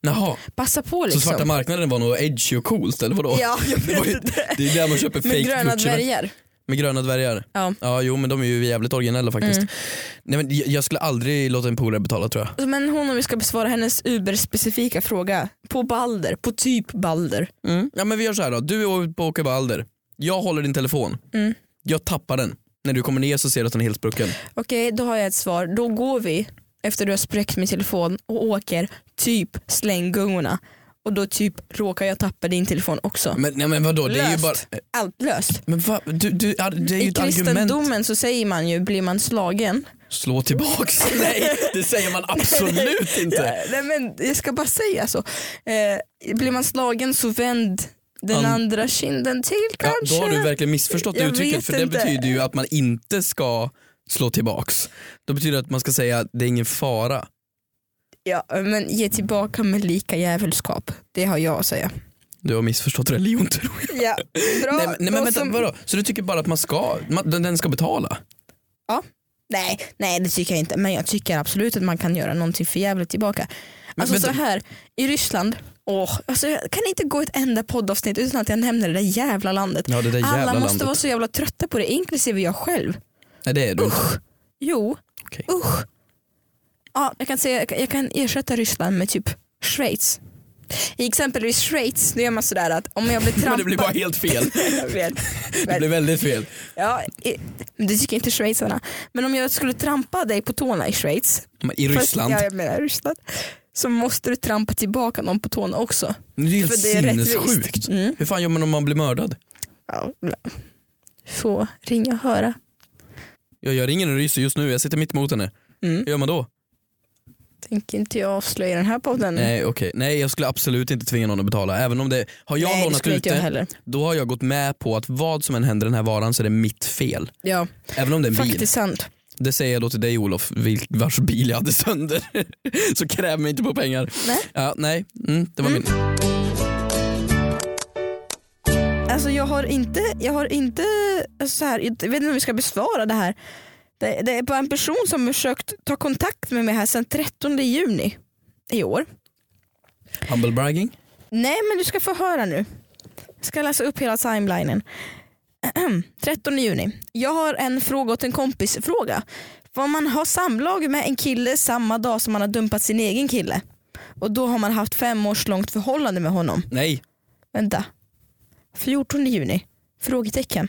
[SPEAKER 3] Jaha.
[SPEAKER 2] Passa på
[SPEAKER 3] Så
[SPEAKER 2] liksom.
[SPEAKER 3] svarta marknaden var nog edgy och coolt eller vadå?
[SPEAKER 2] Ja, jag
[SPEAKER 3] Det, var ju,
[SPEAKER 2] vet inte.
[SPEAKER 3] det är där man köper fake
[SPEAKER 2] Med gröna
[SPEAKER 3] Gucci-märken.
[SPEAKER 2] dvärgar.
[SPEAKER 3] Med gröna dvärgar.
[SPEAKER 2] Ja. Mm.
[SPEAKER 3] Ja jo men de är ju jävligt originella faktiskt. Nej, men jag, jag skulle aldrig låta en polare betala tror jag.
[SPEAKER 2] Alltså, Men hon om vi ska besvara hennes uber-specifika fråga. På Balder, på typ Balder.
[SPEAKER 3] Ja men vi gör så här då, du är på Åke Balder. Jag håller din telefon.
[SPEAKER 2] Mm.
[SPEAKER 3] Jag tappar den. När du kommer ner så ser du att den är helt sprucken.
[SPEAKER 2] Okej, då har jag ett svar. Då går vi efter du har spräckt min telefon och åker typ slänggungorna. Och då typ råkar jag tappa din telefon också.
[SPEAKER 3] Men, nej, men vadå, det är ju
[SPEAKER 2] Löst.
[SPEAKER 3] bara...
[SPEAKER 2] Allt löst.
[SPEAKER 3] Men va, du, du, ar- det är ju
[SPEAKER 2] I
[SPEAKER 3] ett argument.
[SPEAKER 2] kristendomen så säger man ju, blir man slagen?
[SPEAKER 3] Slå tillbaks. nej det säger man absolut inte.
[SPEAKER 2] Nej men jag ska bara säga så. Eh, blir man slagen så vänd den
[SPEAKER 3] An-
[SPEAKER 2] andra kinden till
[SPEAKER 3] Ja,
[SPEAKER 2] kanske.
[SPEAKER 3] då har du verkligen missförstått
[SPEAKER 2] Jag
[SPEAKER 3] uttrycket
[SPEAKER 2] vet
[SPEAKER 3] för det
[SPEAKER 2] inte.
[SPEAKER 3] betyder ju att man inte ska slå tillbaks. Då betyder det att man ska säga att det är ingen fara.
[SPEAKER 2] Ja, men ge tillbaka med lika djävulskap. Det har jag att säga.
[SPEAKER 3] Du har missförstått religion tror jag.
[SPEAKER 2] Ja, bra.
[SPEAKER 3] nej, men- nej men vänta, vadå? Så du tycker bara att man ska, man, den, den ska betala?
[SPEAKER 2] nej, nej det tycker jag inte. Men jag tycker absolut att man kan göra någonting för jävligt tillbaka.
[SPEAKER 3] Men
[SPEAKER 2] Alltså
[SPEAKER 3] vänta.
[SPEAKER 2] så här, i Ryssland, åh, alltså, jag kan inte gå ett enda poddavsnitt utan att jag nämner det där jävla landet.
[SPEAKER 3] Ja det där jävla
[SPEAKER 2] Alla måste
[SPEAKER 3] landet.
[SPEAKER 2] vara så jävla trötta på det, inklusive jag själv.
[SPEAKER 3] Nej det är du inte.
[SPEAKER 2] Jo,
[SPEAKER 3] Okej.
[SPEAKER 2] usch. Ja, jag, kan säga, jag kan ersätta Ryssland med typ Schweiz. I exempelvis Schweiz, då gör man sådär att om jag blir trampad.
[SPEAKER 3] Men det blir bara helt fel.
[SPEAKER 2] Jag vet.
[SPEAKER 3] Det blir väldigt fel.
[SPEAKER 2] Ja, i, men det tycker inte schweizarna. Men om jag skulle trampa dig på tårna i Schweiz,
[SPEAKER 3] Men I Ryssland,
[SPEAKER 2] Fast, ja, jag menar Ryssland, så måste du trampa tillbaka någon på tårna också.
[SPEAKER 3] det är ju helt
[SPEAKER 2] För det är
[SPEAKER 3] sinnessjukt.
[SPEAKER 2] rättvist. Mm.
[SPEAKER 3] Hur fan gör man om man blir mördad?
[SPEAKER 2] Ja. Få ringa och höra.
[SPEAKER 3] Jag, jag ringer en ryss just nu, jag sitter mitt emot henne.
[SPEAKER 2] Mm.
[SPEAKER 3] Hur gör man då?
[SPEAKER 2] Tänker inte jag avslöja den här podden.
[SPEAKER 3] Nej okej, nej jag skulle absolut inte tvinga någon att betala. Även om det, har jag
[SPEAKER 2] Nej, det
[SPEAKER 3] lånat
[SPEAKER 2] skulle
[SPEAKER 3] ut
[SPEAKER 2] inte jag
[SPEAKER 3] det,
[SPEAKER 2] heller.
[SPEAKER 3] då har jag gått med på att vad som än händer den här varan så är det mitt fel.
[SPEAKER 2] Ja,
[SPEAKER 3] Även om det är en bil.
[SPEAKER 2] faktiskt sant.
[SPEAKER 3] Det säger jag då till dig Olof, vil- vars bil jag hade sönder. så kräv mig inte på pengar.
[SPEAKER 2] Nej.
[SPEAKER 3] Ja, nej, mm, det var min.
[SPEAKER 2] Alltså jag har inte, jag har inte alltså så här, jag vet inte om vi ska besvara det här. Det, det är bara en person som har försökt ta kontakt med mig här sedan 13 juni i år.
[SPEAKER 3] Humble bragging.
[SPEAKER 2] Nej men du ska få höra nu. Jag ska läsa upp hela timelinen. 13 juni. Jag har en fråga åt en kompis fråga. Får man ha samlag med en kille samma dag som man har dumpat sin egen kille? Och då har man haft fem års långt förhållande med honom.
[SPEAKER 3] Nej,
[SPEAKER 2] Vänta. 14 juni? Frågetecken.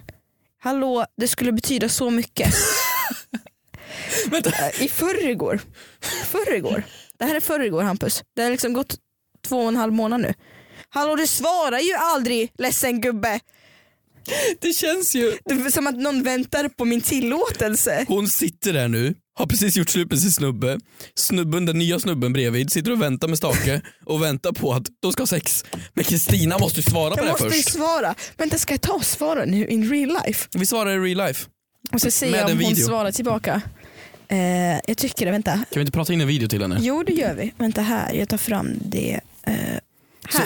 [SPEAKER 2] Hallå, det skulle betyda så mycket. Eh,
[SPEAKER 3] Vänta.
[SPEAKER 2] I förrgår. Förrgår. Det här är förrgår Hampus. Det har liksom gått två och en halv månad nu. Hallå du svarar ju aldrig ledsen gubbe.
[SPEAKER 3] det känns ju.
[SPEAKER 2] Det är som att någon väntar på min tillåtelse.
[SPEAKER 3] Hon sitter där nu, har precis gjort slut med sin snubbe. Snubben, den nya snubben bredvid sitter och väntar med stake och väntar på att de ska ha sex. Men Kristina måste ju svara på
[SPEAKER 2] Jag
[SPEAKER 3] det här
[SPEAKER 2] måste ju
[SPEAKER 3] först.
[SPEAKER 2] svara. Vänta ska jag ta och svara nu in real life?
[SPEAKER 3] Vi svarar i real life.
[SPEAKER 2] Och så ser
[SPEAKER 3] Med
[SPEAKER 2] jag
[SPEAKER 3] en
[SPEAKER 2] om hon
[SPEAKER 3] video.
[SPEAKER 2] svarar tillbaka. Eh, jag tycker det, vänta.
[SPEAKER 3] Kan vi inte prata in en video till henne?
[SPEAKER 2] Jo det gör vi. Vänta här, jag tar fram det. Eh, här.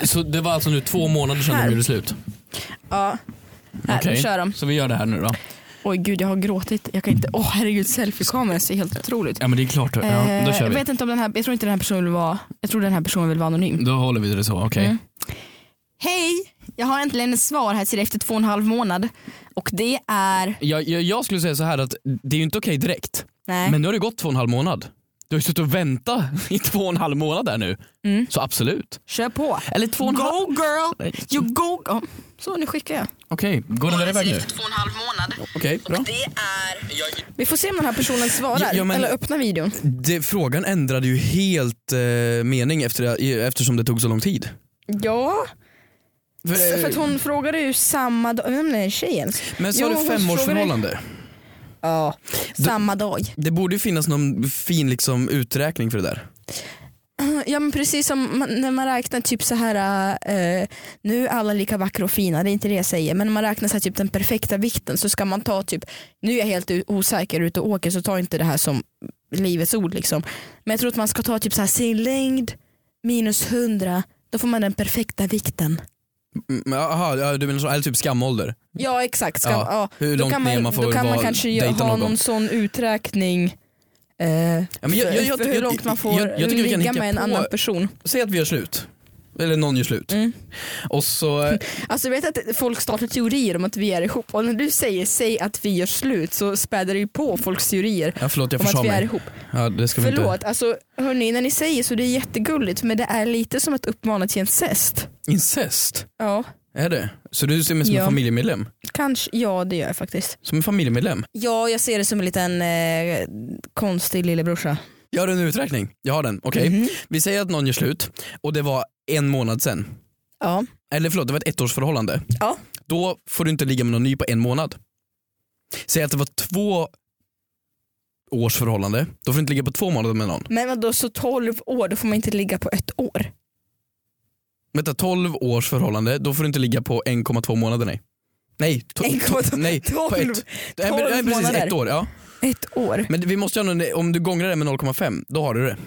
[SPEAKER 3] Så, så det var alltså nu två månader sedan
[SPEAKER 2] Här.
[SPEAKER 3] de gjorde slut?
[SPEAKER 2] Ja. Här,
[SPEAKER 3] Okej.
[SPEAKER 2] kör dem.
[SPEAKER 3] Så vi gör det här nu då?
[SPEAKER 2] Oj gud jag har gråtit. Jag kan inte, åh oh, herregud selfie-kameran ser helt otroligt.
[SPEAKER 3] Ja men det är klart, ja, då
[SPEAKER 2] Eh,
[SPEAKER 3] kör
[SPEAKER 2] jag
[SPEAKER 3] vi.
[SPEAKER 2] vet inte om den här, jag tror inte den här personen vill vara, jag tror den här personen vill vara anonym.
[SPEAKER 3] Då håller vi det så, okej.
[SPEAKER 2] Mm. Hej! Jag har äntligen ett svar här till dig efter två och en halv månad. Och det är,
[SPEAKER 3] Jag, jag, jag skulle säga så här att det är ju inte okej direkt.
[SPEAKER 2] nej.
[SPEAKER 3] Men nu har det gått två och en halv månad. Du har ju suttit och väntat i två och en halv månad där nu.
[SPEAKER 2] Mm.
[SPEAKER 3] Så absolut.
[SPEAKER 2] Kör på.
[SPEAKER 3] Eller två och en halv...
[SPEAKER 2] Go girl! You go! Oh. Så nu skickar jag.
[SPEAKER 3] Okej, går den där iväg nu?
[SPEAKER 2] två och en halv månad.
[SPEAKER 3] Okej, bra.
[SPEAKER 2] Det är... Vi får se om den här personen svarar
[SPEAKER 3] Ja, ja, men-
[SPEAKER 2] eller öppnar videon.
[SPEAKER 3] Det, frågan ändrade ju helt eh, mening efter, i- eftersom det tog så lång tid.
[SPEAKER 2] Ja,
[SPEAKER 3] För,
[SPEAKER 2] för att
[SPEAKER 3] eh,
[SPEAKER 2] hon frågade ju samma dag, vem är den tjejen?
[SPEAKER 3] men så
[SPEAKER 2] Jo,
[SPEAKER 3] har
[SPEAKER 2] hon
[SPEAKER 3] du
[SPEAKER 2] frågade-
[SPEAKER 3] femårsförhållande?
[SPEAKER 2] Ja, samma dag.
[SPEAKER 3] Det borde ju finnas någon fin liksom, uträkning för det där.
[SPEAKER 2] Ja men precis som man, när man räknar typ så här eh, nu är alla lika vackra och fina, det är inte det jag säger, men när man räknar så här, typ den perfekta vikten så ska man ta typ, nu är jag helt o- osäker ute och åker så ta inte det här som livets ord liksom. Men jag tror att man ska ta typ så här sin längd minus 100, då får man den perfekta vikten.
[SPEAKER 3] Mm, Jaha, ja, du menar så, eller typ skamålder?
[SPEAKER 2] Ja exakt, ska,
[SPEAKER 3] Ja,
[SPEAKER 2] ja,
[SPEAKER 3] hur
[SPEAKER 2] då
[SPEAKER 3] långt
[SPEAKER 2] kan
[SPEAKER 3] ner
[SPEAKER 2] man,
[SPEAKER 3] man får
[SPEAKER 2] då kan man
[SPEAKER 3] vara-
[SPEAKER 2] kanske ju
[SPEAKER 3] dejta
[SPEAKER 2] ha
[SPEAKER 3] någon.
[SPEAKER 2] någon sån uträkning eh,
[SPEAKER 3] men jag- jag-
[SPEAKER 2] för,
[SPEAKER 3] jag-
[SPEAKER 2] för hur
[SPEAKER 3] jag-
[SPEAKER 2] långt man får
[SPEAKER 3] jag- jag tycker vi kan
[SPEAKER 2] ligga
[SPEAKER 3] hicka
[SPEAKER 2] med en
[SPEAKER 3] på-
[SPEAKER 2] annan person.
[SPEAKER 3] Säg att vi gör slut. Eller någon gör slut.
[SPEAKER 2] Mm.
[SPEAKER 3] Och så... eh,
[SPEAKER 2] Alltså jag vet att folk startar teorier om att vi är ihop och när du säger säg att vi gör slut så späder det ju på folks teorier
[SPEAKER 3] Ja, förlåt, jag
[SPEAKER 2] om
[SPEAKER 3] försade
[SPEAKER 2] att vi är
[SPEAKER 3] mig.
[SPEAKER 2] ihop.
[SPEAKER 3] Ja, det ska vi inte...
[SPEAKER 2] Förlåt, alltså hörni när ni säger så det är jättegulligt men det är lite som att uppmana till incest.
[SPEAKER 3] Incest?
[SPEAKER 2] Ja,
[SPEAKER 3] Är det? Så du ser mig som en
[SPEAKER 2] Ja.
[SPEAKER 3] familjemedlem?
[SPEAKER 2] kanske, ja det gör jag faktiskt.
[SPEAKER 3] Som en familjemedlem?
[SPEAKER 2] Ja jag ser det som en liten eh, konstig lillebrorsa.
[SPEAKER 3] Gör en uträkning. Jag har den. Okej.
[SPEAKER 2] Mhm.
[SPEAKER 3] Vi säger att någon gör slut och det var en månad sen.
[SPEAKER 2] Ja.
[SPEAKER 3] Eller förlåt, det var ett ettårsförhållande.
[SPEAKER 2] Ja.
[SPEAKER 3] Då får du inte ligga med någon ny på en månad. Säg att det var två års förhållande. Då får du inte ligga på två månader med någon.
[SPEAKER 2] Men vadå så 12 år då får man inte ligga på ett år?
[SPEAKER 3] Vänta, 12 års förhållande. Då får du inte ligga på 1,2 månader. Nej. Nej, to-
[SPEAKER 2] 1,2
[SPEAKER 3] to- nej, på
[SPEAKER 2] 12
[SPEAKER 3] ett. Nej, men-
[SPEAKER 2] 12
[SPEAKER 3] nej, precis,
[SPEAKER 2] månader.
[SPEAKER 3] ett år. Ja.
[SPEAKER 2] Ett år?
[SPEAKER 3] Men vi måste göra någon, om du gångrar det med 0,5 då har du det.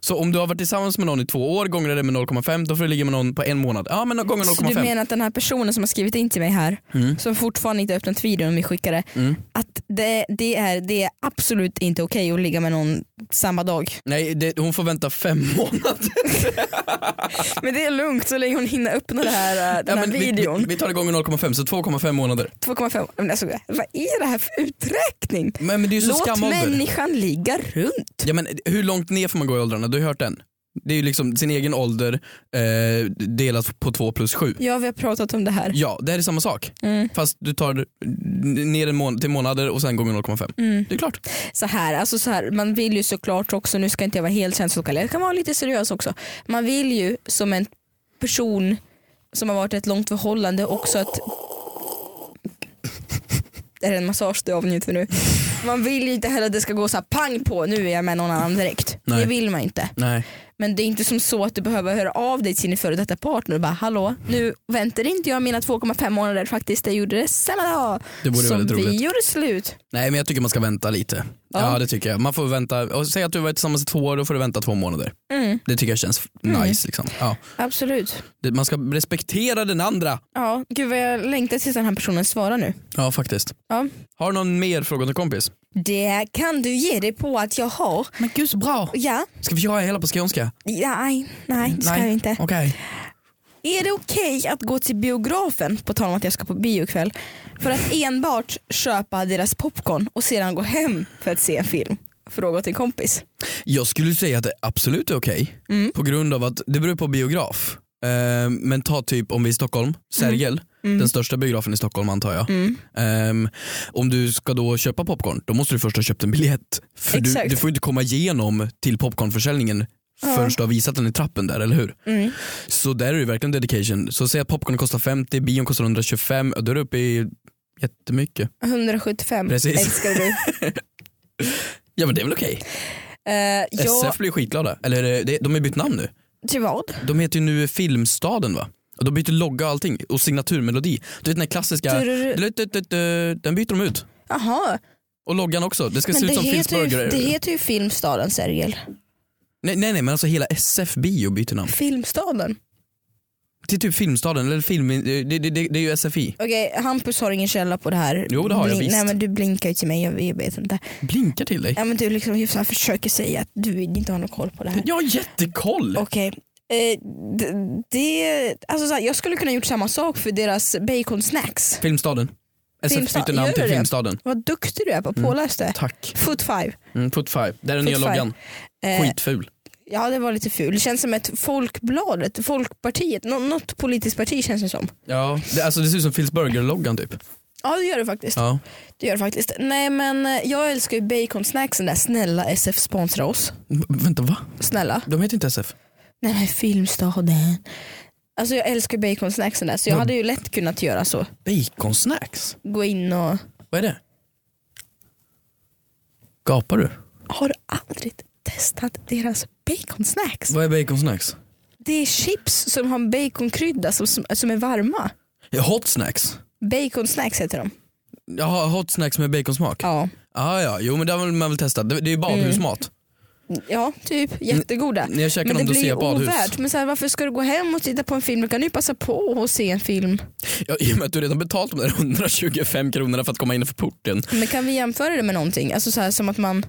[SPEAKER 3] Så om du har varit tillsammans med någon i två år, gångrar det med 0,5 då får du ligga med någon på en månad. Ja men gånger
[SPEAKER 2] Så du
[SPEAKER 3] 0,5.
[SPEAKER 2] menar att den här personen som har skrivit in till mig här,
[SPEAKER 3] Mm.
[SPEAKER 2] som fortfarande inte har öppnat videon vi skickade,
[SPEAKER 3] Mm.
[SPEAKER 2] att det, det, är, det är absolut inte okej att ligga med någon samma dag.
[SPEAKER 3] Nej det, hon får vänta fem månader.
[SPEAKER 2] Men det är lugnt så länge hon hinner öppna det här, eh, den
[SPEAKER 3] Ja,
[SPEAKER 2] här
[SPEAKER 3] men vi,
[SPEAKER 2] videon.
[SPEAKER 3] vi, vi tar det gånger 0,5 så 2,5 månader.
[SPEAKER 2] 2,5, men alltså, vad är det här för uträkning?
[SPEAKER 3] Men, men det är ju så
[SPEAKER 2] Låt
[SPEAKER 3] skamålder.
[SPEAKER 2] människan ligga runt.
[SPEAKER 3] Ja, men hur långt ner får man gå i åldrarna? Du har hört den. Det är ju liksom sin egen ålder eh, delat på två plus sju.
[SPEAKER 2] Ja, vi har pratat om det här.
[SPEAKER 3] Ja, det här är samma sak.
[SPEAKER 2] Mm.
[SPEAKER 3] Fast du tar ner en mån till månader och sen gånger 0,5.
[SPEAKER 2] Mm.
[SPEAKER 3] Det är klart.
[SPEAKER 2] Så här, alltså så här, man vill ju såklart också, nu ska inte jag vara helt känslokall, jag kan vara lite seriös också. Man vill ju som en person som har varit i ett långt förhållande också att... Är det en massage du avnjuter nu? Man vill ju inte heller att det ska gå så här pang på, nu är jag med någon annan direkt.
[SPEAKER 3] Nej.
[SPEAKER 2] Det vill man inte.
[SPEAKER 3] Nej.
[SPEAKER 2] Men det är inte som så att du behöver höra av dig till din före detta partner och bara hallå, nu väntar inte jag mina 2,5 månader faktiskt, jag gjorde det samma dag
[SPEAKER 3] Det vore
[SPEAKER 2] som
[SPEAKER 3] väldigt roligt.
[SPEAKER 2] vi gjorde slut.
[SPEAKER 3] Nej men jag tycker man ska vänta lite. Ja,
[SPEAKER 2] Ja.
[SPEAKER 3] det tycker jag. Man får vänta, och säg att du har varit tillsammans i två år, då får du vänta två månader.
[SPEAKER 2] Mm,
[SPEAKER 3] Det tycker jag känns f-
[SPEAKER 2] Mm.
[SPEAKER 3] nice. Liksom. Ja.
[SPEAKER 2] absolut.
[SPEAKER 3] Det, man ska respektera den andra.
[SPEAKER 2] Ja, gud vad jag längtar tills den här personen svarar nu.
[SPEAKER 3] Ja faktiskt.
[SPEAKER 2] Ja.
[SPEAKER 3] Har du någon mer fråga till kompis?
[SPEAKER 2] Det kan du ge dig på att jag har.
[SPEAKER 3] Men gud så bra.
[SPEAKER 2] Ja,
[SPEAKER 3] Ska vi göra hela på skånska?
[SPEAKER 2] nej, nej det ska
[SPEAKER 3] Nej.
[SPEAKER 2] jag inte.
[SPEAKER 3] Okej.
[SPEAKER 2] Är det okej att gå till biografen, på tal om att jag ska på bio ikväll, för att enbart köpa deras popcorn och sedan gå hem för att se en film? Fråga till kompis.
[SPEAKER 3] Jag skulle säga att det absolut är okej.
[SPEAKER 2] Mm.
[SPEAKER 3] På grund av att det beror på biograf. Eh, men ta typ om vi är i Stockholm, Sergel,
[SPEAKER 2] Mm.
[SPEAKER 3] den största biografen i Stockholm antar jag. Ehm, om du ska då köpa popcorn, då måste du först ha köpt en biljett. För du,
[SPEAKER 2] Exakt.
[SPEAKER 3] du får ju inte komma igenom till popcornförsäljningen förrän du har visat den i trappen där, eller hur?
[SPEAKER 2] Mm.
[SPEAKER 3] Så där är det verkligen dedication. Så säg att popcorn kostar 50, bion kostar 125, då är du uppe i jättemycket.
[SPEAKER 2] 175
[SPEAKER 3] Precis.
[SPEAKER 2] älskar du.
[SPEAKER 3] Ja men det är väl okej?
[SPEAKER 2] Eh, jag,
[SPEAKER 3] SF blir skitglada. Eller är det- det- de har bytt namn nu.
[SPEAKER 2] till vad?
[SPEAKER 3] De heter ju nu Filmstaden va? Och de byter logga och allting och signaturmelodi. Du vet den här klassiska,
[SPEAKER 2] Turururu.
[SPEAKER 3] den byter de ut.
[SPEAKER 2] Jaha,
[SPEAKER 3] Och loggan också, det ska se
[SPEAKER 2] men
[SPEAKER 3] ut
[SPEAKER 2] det
[SPEAKER 3] som
[SPEAKER 2] heter, ju,
[SPEAKER 3] Filmsburger.
[SPEAKER 2] det heter ju Filmstaden Sergel.
[SPEAKER 3] Nej, nej nej men alltså hela SF bio byter namn.
[SPEAKER 2] Filmstaden?
[SPEAKER 3] Till typ Filmstaden, eller film, det, det, det, det är ju SFI.
[SPEAKER 2] Okej, Hampus har ingen källa på det här.
[SPEAKER 3] Jo, det har jag
[SPEAKER 2] Blin-
[SPEAKER 3] visst.
[SPEAKER 2] Nej men du blinkar ju till mig, jag, jag vet inte.
[SPEAKER 3] Blinkar till dig.
[SPEAKER 2] Ja, men du liksom just så här försöker säga att du inte har någon koll på det här.
[SPEAKER 3] Jag har jättekoll!
[SPEAKER 2] Okej. Eh, d- det, alltså så här, jag skulle kunna gjort samma sak för deras baconsnacks.
[SPEAKER 3] Filmstaden. SF
[SPEAKER 2] Filmsta-
[SPEAKER 3] byter namn
[SPEAKER 2] gör
[SPEAKER 3] till
[SPEAKER 2] det?
[SPEAKER 3] Filmstaden.
[SPEAKER 2] Vad duktig du är på att
[SPEAKER 3] Mm.
[SPEAKER 2] påläsa det.
[SPEAKER 3] Tack.
[SPEAKER 2] Foot five.
[SPEAKER 3] Mm, foot five. Det är den nya
[SPEAKER 2] Foot five.
[SPEAKER 3] loggan.
[SPEAKER 2] Eh,
[SPEAKER 3] Skitful.
[SPEAKER 2] ja det var lite ful. Det känns som ett folkbladet, folkpartiet, nå- något politiskt parti känns det som.
[SPEAKER 3] Ja, det, alltså det ser ut som Filmsburger-loggan typ.
[SPEAKER 2] Ja det gör det faktiskt.
[SPEAKER 3] Ja.
[SPEAKER 2] Det gör det faktiskt. Nej men eh, jag älskar ju baconsnacksen där. Snälla SF sponsra oss.
[SPEAKER 3] V- vänta va?
[SPEAKER 2] Snälla.
[SPEAKER 3] De heter inte SF?
[SPEAKER 2] Nej men filmstaden. Alltså jag älskar ju baconsnacksen där så jag
[SPEAKER 3] Ja.
[SPEAKER 2] hade ju lätt kunnat göra så.
[SPEAKER 3] Baconsnacks?
[SPEAKER 2] Gå in och
[SPEAKER 3] Vad är det? Gapar du?
[SPEAKER 2] Har du aldrig testat deras baconsnacks?
[SPEAKER 3] Vad är baconsnacks?
[SPEAKER 2] Det är chips som har baconkrydda som, som, som är varma.
[SPEAKER 3] Ja, hot snacks?
[SPEAKER 2] Baconsnacks heter de.
[SPEAKER 3] Jaha, hot snacks med baconsmak? Ja, Mm.
[SPEAKER 2] Ja,
[SPEAKER 3] ah, ja. jo men det har man väl testat. Det, det är ju badhusmat.
[SPEAKER 2] ja typ. Jättegoda.
[SPEAKER 3] När jag käkar
[SPEAKER 2] Men det
[SPEAKER 3] dem då
[SPEAKER 2] blir
[SPEAKER 3] ser
[SPEAKER 2] ju
[SPEAKER 3] jag badhus.
[SPEAKER 2] ovärt. Men så här, varför ska du gå hem och titta på en film? Du kan ju passa på och se en film.
[SPEAKER 3] Ja, I och med att du redan betalt de där 125 kronorna för att komma innanför porten.
[SPEAKER 2] Men kan vi jämföra det med någonting? Alltså så här, som att man...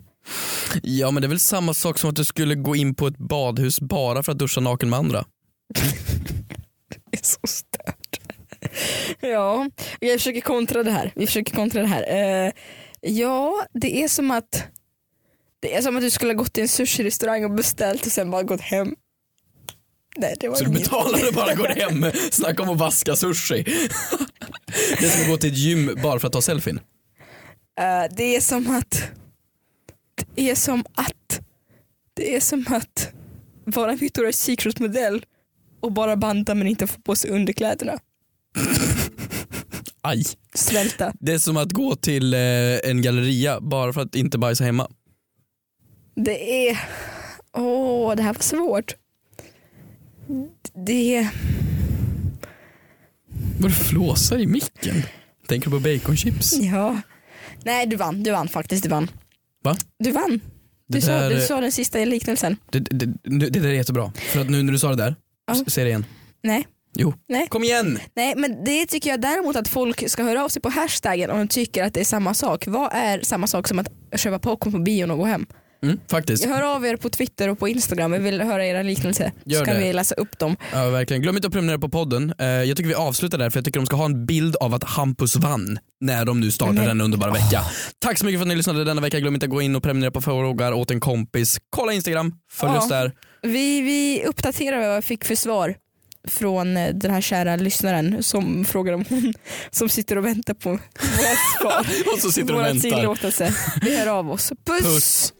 [SPEAKER 3] Ja men det är väl samma sak som att du skulle gå in på ett badhus bara för att duscha naken med andra.
[SPEAKER 2] Det är så stört. ja, jag försöker kontra det här. Vi försöker kontra det här. Eh, ja, det är som att det är som att du skulle ha gått till en sushi-restaurang och beställt och sen bara gått hem. Nej, det var
[SPEAKER 3] Så du
[SPEAKER 2] inget.
[SPEAKER 3] betalar och bara går hem. Snacka om att vaska sushi. Det är som att gå till ett gym bara för att ta selfien.
[SPEAKER 2] Eh, det är som att det är som att det är som att vara en Victoria's Secret-modell och bara banta men inte få på sig underkläderna.
[SPEAKER 3] Aj.
[SPEAKER 2] Svälta.
[SPEAKER 3] Det är som att gå till eh, en galleria bara för att inte bajsa hemma.
[SPEAKER 2] Det är... Åh, det här var svårt. Det...
[SPEAKER 3] Vad du flåsar i micken. Tänker du på baconchips?
[SPEAKER 2] Ja. Nej, du vann. Du vann faktiskt. Du vann.
[SPEAKER 3] Va?
[SPEAKER 2] Du vann. Du,
[SPEAKER 3] Det
[SPEAKER 2] sa,
[SPEAKER 3] där-
[SPEAKER 2] du sa den sista liknelsen.
[SPEAKER 3] Det, det, det, det där är jättebra. För att nu när du sa det där,
[SPEAKER 2] Ja.
[SPEAKER 3] s- säg det igen.
[SPEAKER 2] Nej.
[SPEAKER 3] Jo.
[SPEAKER 2] Nej.
[SPEAKER 3] Kom igen!
[SPEAKER 2] Nej, men det tycker jag däremot att folk ska höra av sig på hashtaggen om de tycker att det är samma sak. Vad är samma sak som att köpa popcorn på bion och gå hem?
[SPEAKER 3] Mm, faktiskt.
[SPEAKER 2] Jag hör av er på Twitter och på Instagram. Jag vill höra era liknelser.
[SPEAKER 3] Gör
[SPEAKER 2] så kan
[SPEAKER 3] det.
[SPEAKER 2] vi läsa upp dem.
[SPEAKER 3] Ja, verkligen. Glöm inte att prenumerera på podden. Eh, jag tycker vi avslutar där för jag tycker de ska ha en bild av att Hampus vann när de nu startar
[SPEAKER 2] Men-
[SPEAKER 3] denna underbara vecka. Tack så mycket för att ni lyssnade denna vecka. Glöm inte att gå in och prenumerera på frågar åt en kompis. Kolla Instagram, följ
[SPEAKER 2] Ja.
[SPEAKER 3] oss där.
[SPEAKER 2] Vi, vi uppdaterar vad jag fick för svar från eh, den här kära lyssnaren som frågar om hon som sitter och väntar på våra svar.
[SPEAKER 3] Och så sitter och
[SPEAKER 2] våra
[SPEAKER 3] väntar.
[SPEAKER 2] tillåtelse. Vi hör av oss. Puss.
[SPEAKER 3] Puss.